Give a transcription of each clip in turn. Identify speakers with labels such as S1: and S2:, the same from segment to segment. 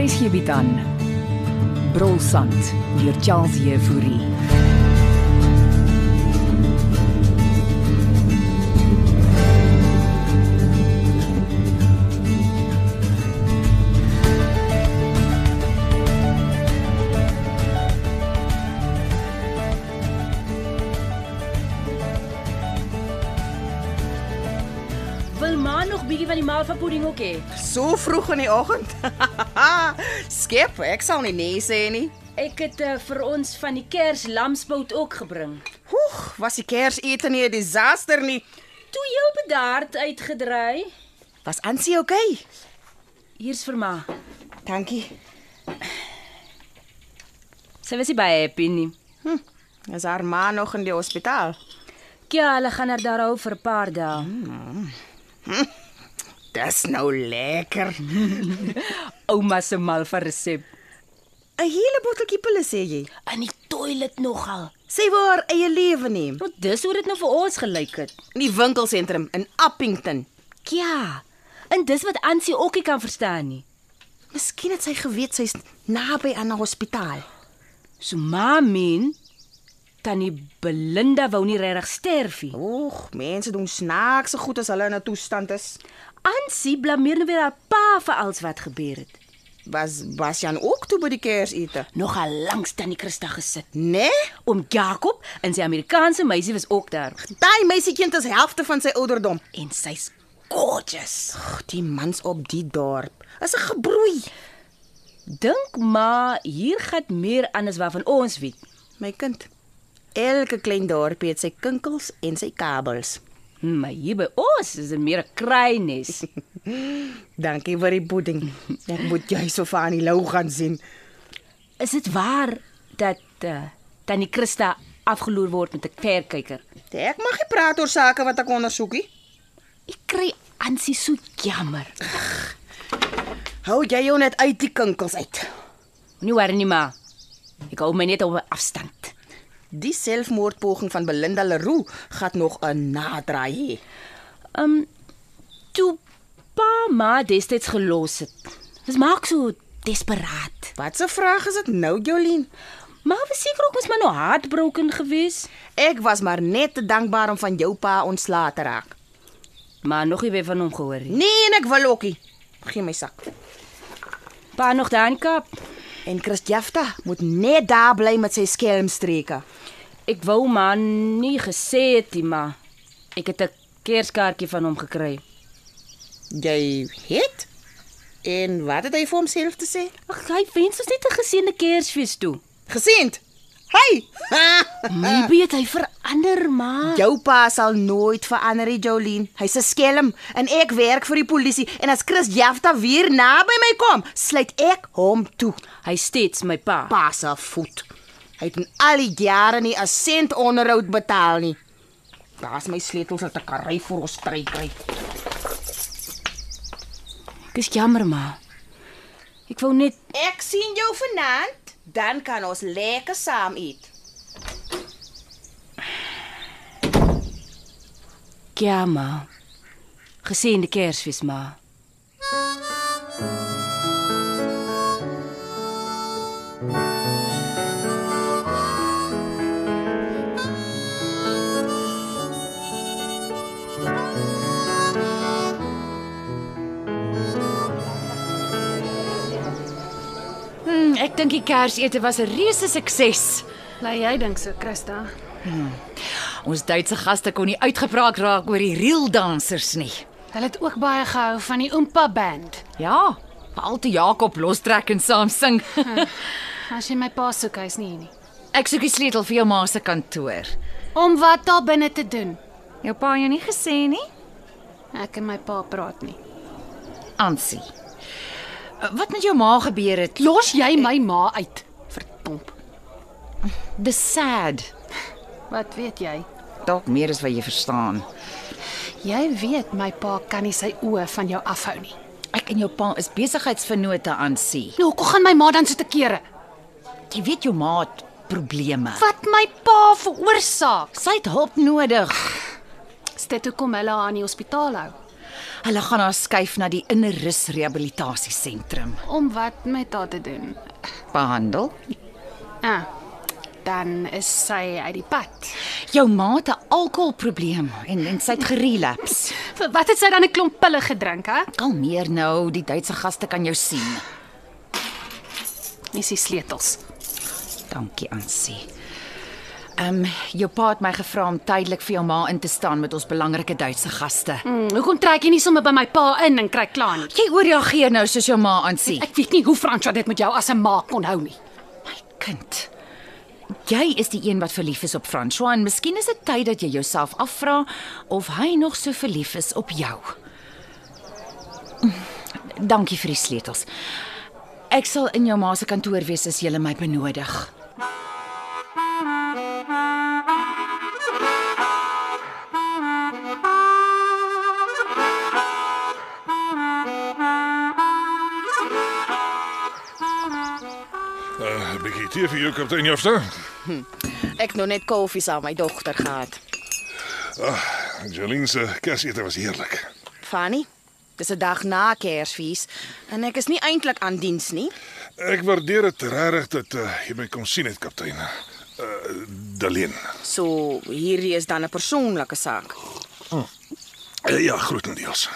S1: RSG bied aan Brolsand deur Charles Jefouri.
S2: Wil ma nog bietjie van die malva pudding ook hê?
S3: So vroeg in die oggend. Skep, ek sal nie nee sê nie.
S2: Ek het uh, vir ons van die kers lamsbout ook gebring.
S3: Oeg, was die Kersete nie 'n disaster nie.
S2: Toe jou bedaard uitgedry.
S3: Was Ansie okay?
S2: Hier's vir ma.
S3: Dankie.
S2: Sy was nie baie happy nie.
S3: Is haar ma nog in die hospitaal?
S2: Ja, hulle gaan haar daar hou vir 'n paar dae.
S3: Dis nou lekker. 'n
S2: Ouma se malva resep.
S3: Hele botteltjie pille sê jy.
S2: In die toilet nogal.
S3: Sy wou haar eie lewe neem.
S2: Want dis hoe dit nou vir ons gelyk het.
S3: In die winkelsentrum in Appington.
S2: Ja. En dis wat Ansie ook nie kan verstaan nie.
S3: Miskien het sy geweet sy's naby aan 'n hospitaal.
S2: So ma meen tannie Belinda wou nie regtig sterf nie.
S3: Oeg, mense doen snaakse goed as hulle in 'n toestand is.
S2: Ansie blameer nou weer haar pa vir alles wat gebeur het.
S3: Was was Jan ook toe by die Kersete?
S2: Nogal langs tannie Christa gesit.
S3: Nee?
S2: Oom Jakob en sy Amerikaanse meisie was ook daar
S3: Daai meisiekind is helfte van sy ouderdom.
S2: en sy's gorgeous.
S3: Ag, die mans op die dorp is 'n gebroei.
S2: Dink maar hier gaan meer aan as waarvan ons weet.
S3: My kind. Elke klein dorpie het sy kinkels en sy kabels.
S2: Hm, Maar hier by ons is dit meer 'n kruinies.
S3: Dankie vir die pudding. Ek moet jou so van die lou gaan sien.
S2: Is dit waar dat uh, tannie Christa afgeloer word met 'n verkyker?
S3: Ek mag nie praat oor sake wat ek ondersoekie.
S2: Ek kry Ansie so jammer.
S3: Hou jy jou net uit die kinkels uit.
S2: Moenie worry nie maar. Ek hou my net op 'n afstand.
S3: Die selfmoordpoging van Belinda Leroux gaan nog 'n nadraai hê.
S2: Ehm um, toe pa ma destyds gelos het. Dit maak so desperaat.
S3: Wat 'n vraag is dit nou, Jolien?
S2: Maar was seker ook mos maar nou heartbroken gewees,
S3: Ek was maar net te dankbaar om van jou pa ontslae te raak.
S2: maar nog nie weer van hom gehoor nie.
S3: Nee, en ek wil ookie. Gee my sak.
S2: Pa nog daan kap.
S3: En Christjafta moet net daar bly met sy skelmstreke.
S2: Ek wou maar nie gesê het nie, maar ek het 'n kerskaartjie van hom gekry.
S3: Jy het? En wat het hy vir homself te sê?
S2: Ag, hy wens ons net 'n geseënde Kersfees toe.
S3: Gesiend. Hey!
S2: Maybe het hy verander, maar
S3: Jou pa sal nooit verander, nie, Jolien. Hy's 'n skelm en ek werk vir die polisie en as Christjafta weer naby my kom, sluit ek hom toe.
S2: hy steeds my pa. pa.
S3: Pa se voet. Hy het in al die jare nie 'n sent onderhoud betaal nie. Daar's my sleutels uit 'n karry vir ons strykry.
S2: Ek is jammer, maar ek wou net
S3: Ek sien jou vanaand, dan kan ons lekker saam eet.
S2: Ja, ma. Geseënde Kersfees, ma.
S4: Hmm, ek dink die Kersete was 'n reuse sukses.
S5: Laat jy dink so, Christa.
S4: Ons Duitse gaste kon nie uitgepraat raak oor die reeldansers nie.
S5: Hulle het ook baie gehou van die Oompa band.
S4: Ja, veral toe Jakob lostrek en saam sing.
S5: As jy my pa soek, hy's nie hier nie.
S4: ek soek die sleutel vir jou ma se kantoor.
S5: Om wat daar binne te doen.
S4: Jou pa het jou nie gesê nie?
S5: Ek en my pa praat nie.
S4: Ansie. Wat met jou ma gebeur het?
S5: Los jy my ma uit, verdomp.
S4: The sad.
S5: Wat weet jy?
S4: Dalk meer as wat jy verstaan.
S5: Jy weet my pa kan nie sy oë van jou afhou nie.
S4: Ek en jou pa is besigheidsvennote aan sien.
S5: Nou hoekom gaan my ma dan so te kere?
S4: Jy weet jou ma het probleme.
S5: Wat my pa veroorsaak.
S4: Sy het hulp nodig.
S5: Is dit hoekom hulle haar in die hospitaal hou?
S4: Hulle gaan haar skuif na die Inner Rus Rehabilitasiesentrum.
S5: Om wat met haar te doen?
S4: Behandel.
S5: Ah. Dan is sy uit die pad.
S4: Jou ma het 'n alkoholprobleem en en sy het gerelaps.
S5: Vir wat het sy dan 'n klomp pille gedrink, hè?
S4: Kalmeer nou, die Duitse gaste kan jou sien.
S5: Dis die sleutels.
S4: Dankie, Ansie. Ehm um, jou pa het my gevra om tydelik vir jou ma in te staan met ons belangrike Duitse gaste.
S5: Hmm, hoekom trek jy nie sommer by my pa in en kry klaar nie?
S4: Jy ooreageer nou soos jou ma aansien.
S5: Ek weet nie hoe Franswa dit met jou as 'n ma kon hou nie.
S4: My kind. Jy is die een wat verlief is op François en miskien is dit tyd dat jy jouself afvra of hy nog so verlief is op jou. Mm, Dankie vir die sleutels. Ek sal in jou ma se kantoor wees as jy my benodig.
S6: Uh, 'n Bietjie tee vir jou kaptein Jafta.
S3: Ek nog net koffie saam met my dogter gehad.
S6: Jolien se kersete was heerlik.
S3: Fanny, dis 'n dag na Kersfees en ek is nie eintlik aan diens nie.
S6: Ek waardeer dit regtig dat uh, jy my kom sien het kaptein. Uh, Daleen.
S3: So hierdie is dan 'n persoonlike saak.
S6: Uh, ja, grotendeels.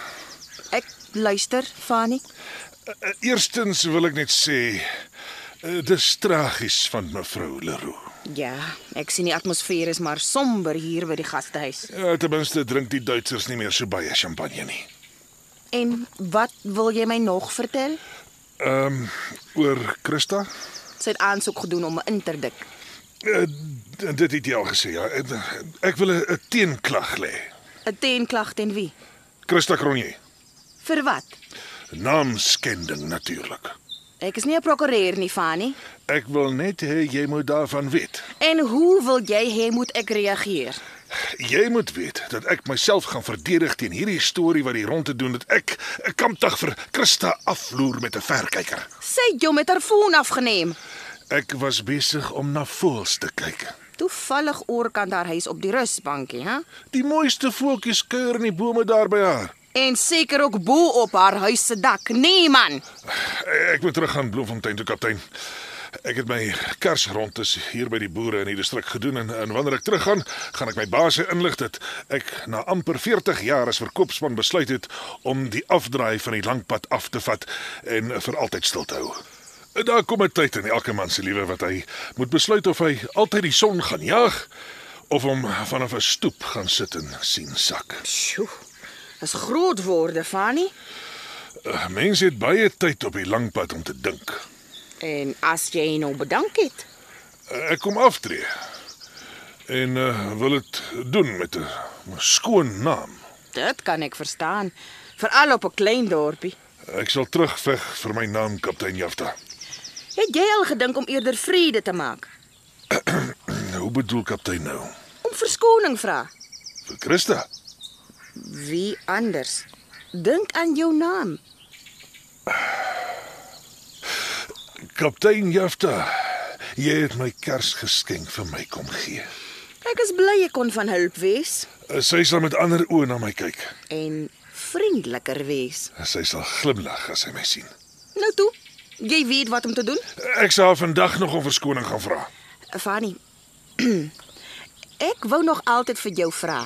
S3: Ek luister, Fanny.
S6: Uh, eerstens wil ek net sê eh, uh, dis tragies van mevrou Leroux.
S3: Ja, ek sien die atmosfeer is maar somber hier by die gastehuis.
S6: Ja, ten minste drink die Duitsers nie meer so baie champagne nie.
S3: En wat wil jy my nog vertel?
S6: Ehm um, oor Christa?
S3: Sy het aansoek gedoen om 'n interdik.
S6: Uh, d- dit het jy al gesê. Ja. Ek, ek wil 'n- 'n teenklag lê.
S3: 'n Teenklag teen wie?
S6: Christa Cronje.
S3: Vir wat?
S6: Naamskending natuurlik.
S3: Ek is nie 'n prokureur nie, Fanny.
S6: Ek wil net hê jy moet daarvan weet.
S3: En hoe wil jy hê moet ek reageer?
S6: Jy moet weet dat ek myself gaan verdedig teen hierdie storie wat hier rond te doen dat ek 'n kampdag vir Christa afloer met 'n verkyker.
S3: Sy het jou met haar foon afgeneem.
S6: Ek was besig om na voëls te kyk.
S3: Toevallig oorkant haar huis op die rusbankie, hè?
S6: Die mooiste voeltjies kuier in die bome daar by haar.
S3: En seker ook bo op haar huis se dak. Nee man,
S6: Ek moet terug gaan Bloemfontein toe kaptein. Ek het my kersrondes hier by die boere in die distrik gedoen en, en wanneer ek teruggaan, gaan ek my baas inlig dat ek na amper 40 jaar as verkoopsman besluit het om die afdraai van die lang pad af te vat en vir altyd stil te hou. Daar kom 'n tyd in elke man se lewe wat hy moet besluit of hy altyd die son gaan jag of hom vanaf 'n stoep gaan sit en sien sak.
S3: sjoe. Dis groot woorde, Fanny.
S6: Eh, Mense het baie tyd op die lang pad om te dink.
S3: En as jy nou bedank het,
S6: Ek kom aftree. En uh, wil dit doen met 'n skoon naam.
S3: dit kan ek verstaan, veral op 'n klein dorpie.
S6: Ek sal terugveg vir my naam kaptein Jafta.
S3: Het jy al gedink om eerder vrede te maak?
S6: Hoe bedoel kaptein nou?
S3: Om verskoning vra?
S6: Vir Christa.
S3: Wie anders? Dink aan jou naam.
S6: Kaptein Jafta. Jy het my Kersgeskenk vir my kom gee. Eh,
S3: Ek is bly jy kon van hulp wees
S6: Sy sal met ander oë na my kyk.
S3: en vriendeliker wees.
S6: Sy sal glimlag as sy my sien.
S3: Nou toe, jy weet wat om te doen.
S6: Ek sal haar vandag nog om verskoning gaan vra.
S3: Fanny. ek wou nog altyd vir jou vra.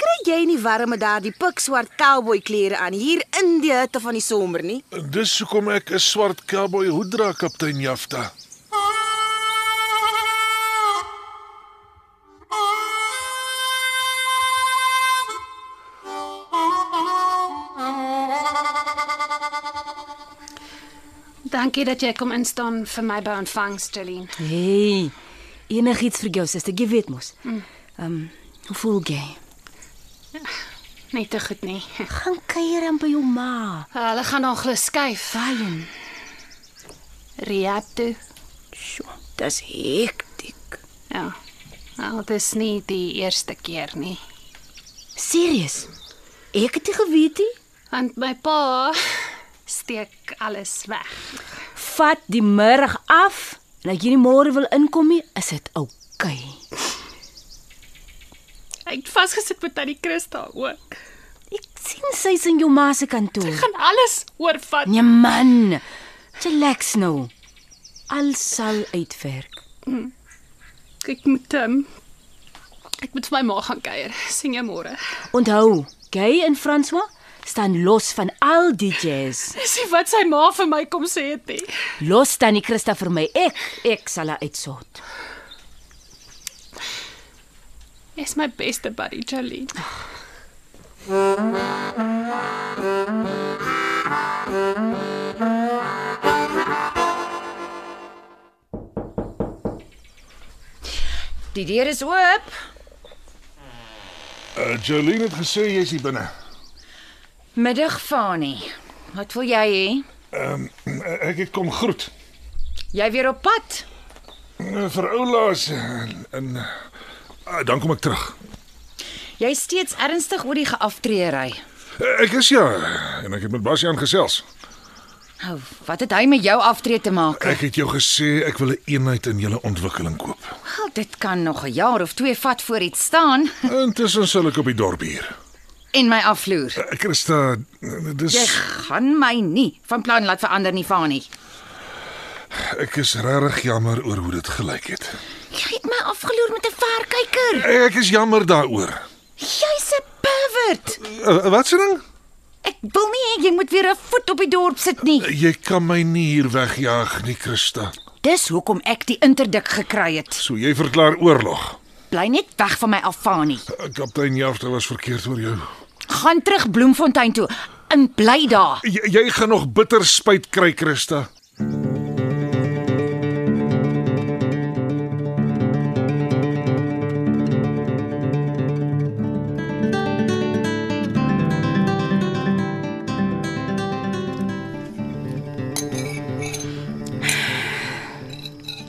S3: Kry jy nie warm met daardie pikswart cowboy klere aan hier in die hitte van die somer nie?
S6: Dis hoekom ek 'n swart cowboy hoed dra, kaptein Jafta.
S5: Dankie dat jy kom instaan vir my by ontvangs, Jolene.
S2: Hey. Enigiets vir jou suster, jy weet mos. Ehm, um, hoe voel jy?
S5: Net te goed nie.
S2: Gaan kuier dan by jou ma.
S5: Hulle gaan nog glo skuif.
S2: Waarheen?
S5: Rehab toe.
S2: Sjoe, dis hektiek.
S5: Ja. Al dis nie die eerste keer nie.
S2: Serius? Ek het dit geweet. nie.
S5: Want my pa steek alles weg.
S2: Vat die middag af en as jy nie môre wil inkom nie, is dit oukei. Okay.
S5: Ek het vasgesit met tannie Christa ook.
S2: Ek sien sy's in jou ma se kantoor.
S5: Gaan alles oorvat.
S2: Nee man. Relax nou. Al sal uitwerk.
S5: Ek moet um, ek moet vir my ma gaan kuier. sien jou môre.
S2: Onthou, Gay en François staan los van al die jazz.
S5: Dis nie wat sy ma vir my kom sê het nie.
S2: Los tannie Christa vir my. Ek ek sal haar uitsort.
S5: Jy's my beste buddy, Jolene.
S4: Die deur is oop.
S6: Uh, Jolene het gesê jy's hier binne.
S4: Middag, Fani. Wat wil jy hê?
S6: Ehm um, ek het kom groet.
S4: Jy weer op pad?
S6: Uh, vir oulaas en, en uh, dan kom ek terug.
S4: Jy is steeds ernstig oor die geaftreery.
S6: Uh, ek is ja en ek het met Bastian gesels.
S4: Ou, wat het hy met jou aftree te maak?
S6: Ek het jou gesê ek wil 'n eenheid in julle ontwikkeling koop.
S4: Wel, dit kan nog 'n jaar of twee vat voor iets staan
S6: Intussen sal ek op die dorp hier.
S4: en my afvloer.
S6: Uh, Christa, uh, dis
S4: Jy gaan my nie van plan laat verander nie, Fani.
S6: ek is regtig jammer oor hoe dit gelyk het.
S4: Jy het my afgeloer met 'n verkyker.
S6: Ek is jammer daaroor.
S4: Jy's 'n pervert.
S6: Uh, wat se ding?
S4: Ek wil nie hê jy moet weer 'n voet op die dorp sit nie.
S6: Eh, Jy kan my nie hier wegjaag nie, Christa.
S4: Dis hoekom ek die interdik gekry het.
S6: So jy verklaar oorlog.
S4: Bly net weg van my af, Fani.
S6: Uh, Kaptein Jafter was verkeerd oor jou.
S4: Gaan terug Bloemfontein toe en bly daar.
S6: J jy gaan nog bitter spyt kry, Christa.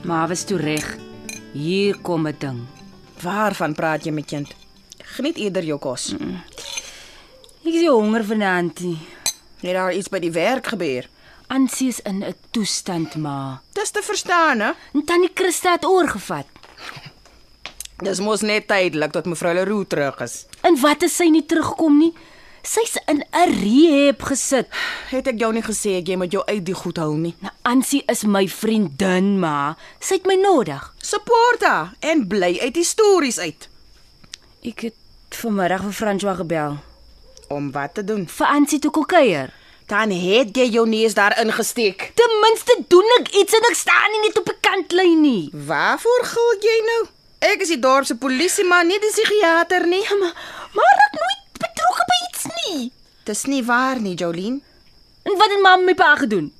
S2: Maar was toe reg. Hier kom 'n ding.
S3: Waarvan praat jy my kind? Geniet eerder jou kos.
S2: Ek is nie honger vanaand nie.
S3: Het daar iets by die werk gebeur?
S2: Ansie is in 'n toestand maar.
S3: Dis te verstaan, hè?
S2: En tannie Christa het oorgevat.
S3: Dis mos net tydelik dat mevrou Leroux terug is.
S2: En wat as sy nie terugkom nie? Sy's in 'n rehab gesit.
S3: Het ek jou nie gesê ek jy moet jou uit die goed hou nie.
S2: Nou Ansie is my vriendin, maar sy het my nodig.
S3: Support haar en bly uit die stories uit.
S2: Ek het vanmiddag vir François gebel.
S3: Om wat te doen?
S2: Vir Ansie toe kom kuier.
S3: Dan het jy jou neus daarin gesteek.
S2: Ten minste doen ek iets en ek staan nie net op 'n kantlyn nie.
S3: Waarvoor gil jy nou? Ek is die dorp se polisieman, nie die psigiater nie.
S2: Ja, maar maar ek nooit betrokke by iets nie.
S3: Dis nie waar nie, Jolien.
S2: En wat het mamma met pa gedoen?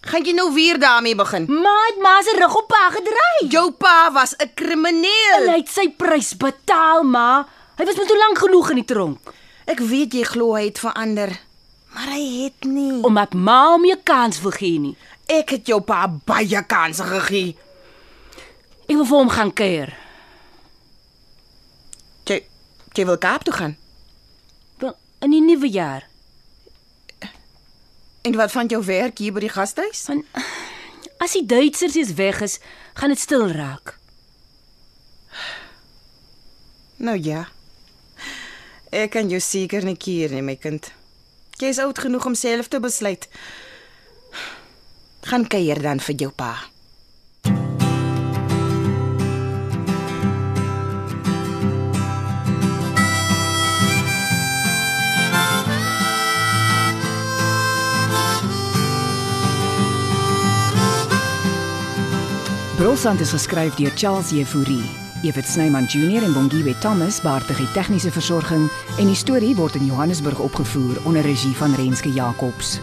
S3: Gaan jy nou weer daarmee begin?
S2: Ma het ma se rug op pa gedraai.
S3: Jou pa was 'n krimineel.
S2: Hy het sy prys betaal, ma. Hy was mos te lank genoeg in die tronk.
S3: Ek weet jy glo hy het verander, maar hy het nie.
S2: Omdat ma hom 'n kans wil gee nie.
S3: Ek het jou pa baie kansse gegee.
S2: Ek wil vir hom gaan kuier.
S3: Jy jy wil Kaap toe gaan.
S2: Wel, In die nuwe jaar.
S3: En wat van jou werk hier by die gasthuis?
S2: Van as die Duitsers eens weg is, gaan dit stil raak.
S3: Nou ja. Ek kan jou seker nie keer nie, my kind. Jy is oud genoeg om self te besluit. Gaan kuier dan vir jou pa.
S1: Brolsand is geskryf deur Charles Jefouri. Evit Snyman Junior en Bongwe Thomas baartig die tegniese versorging en die storie word in Johannesburg opgevoer onder regie van Renske Jacobs.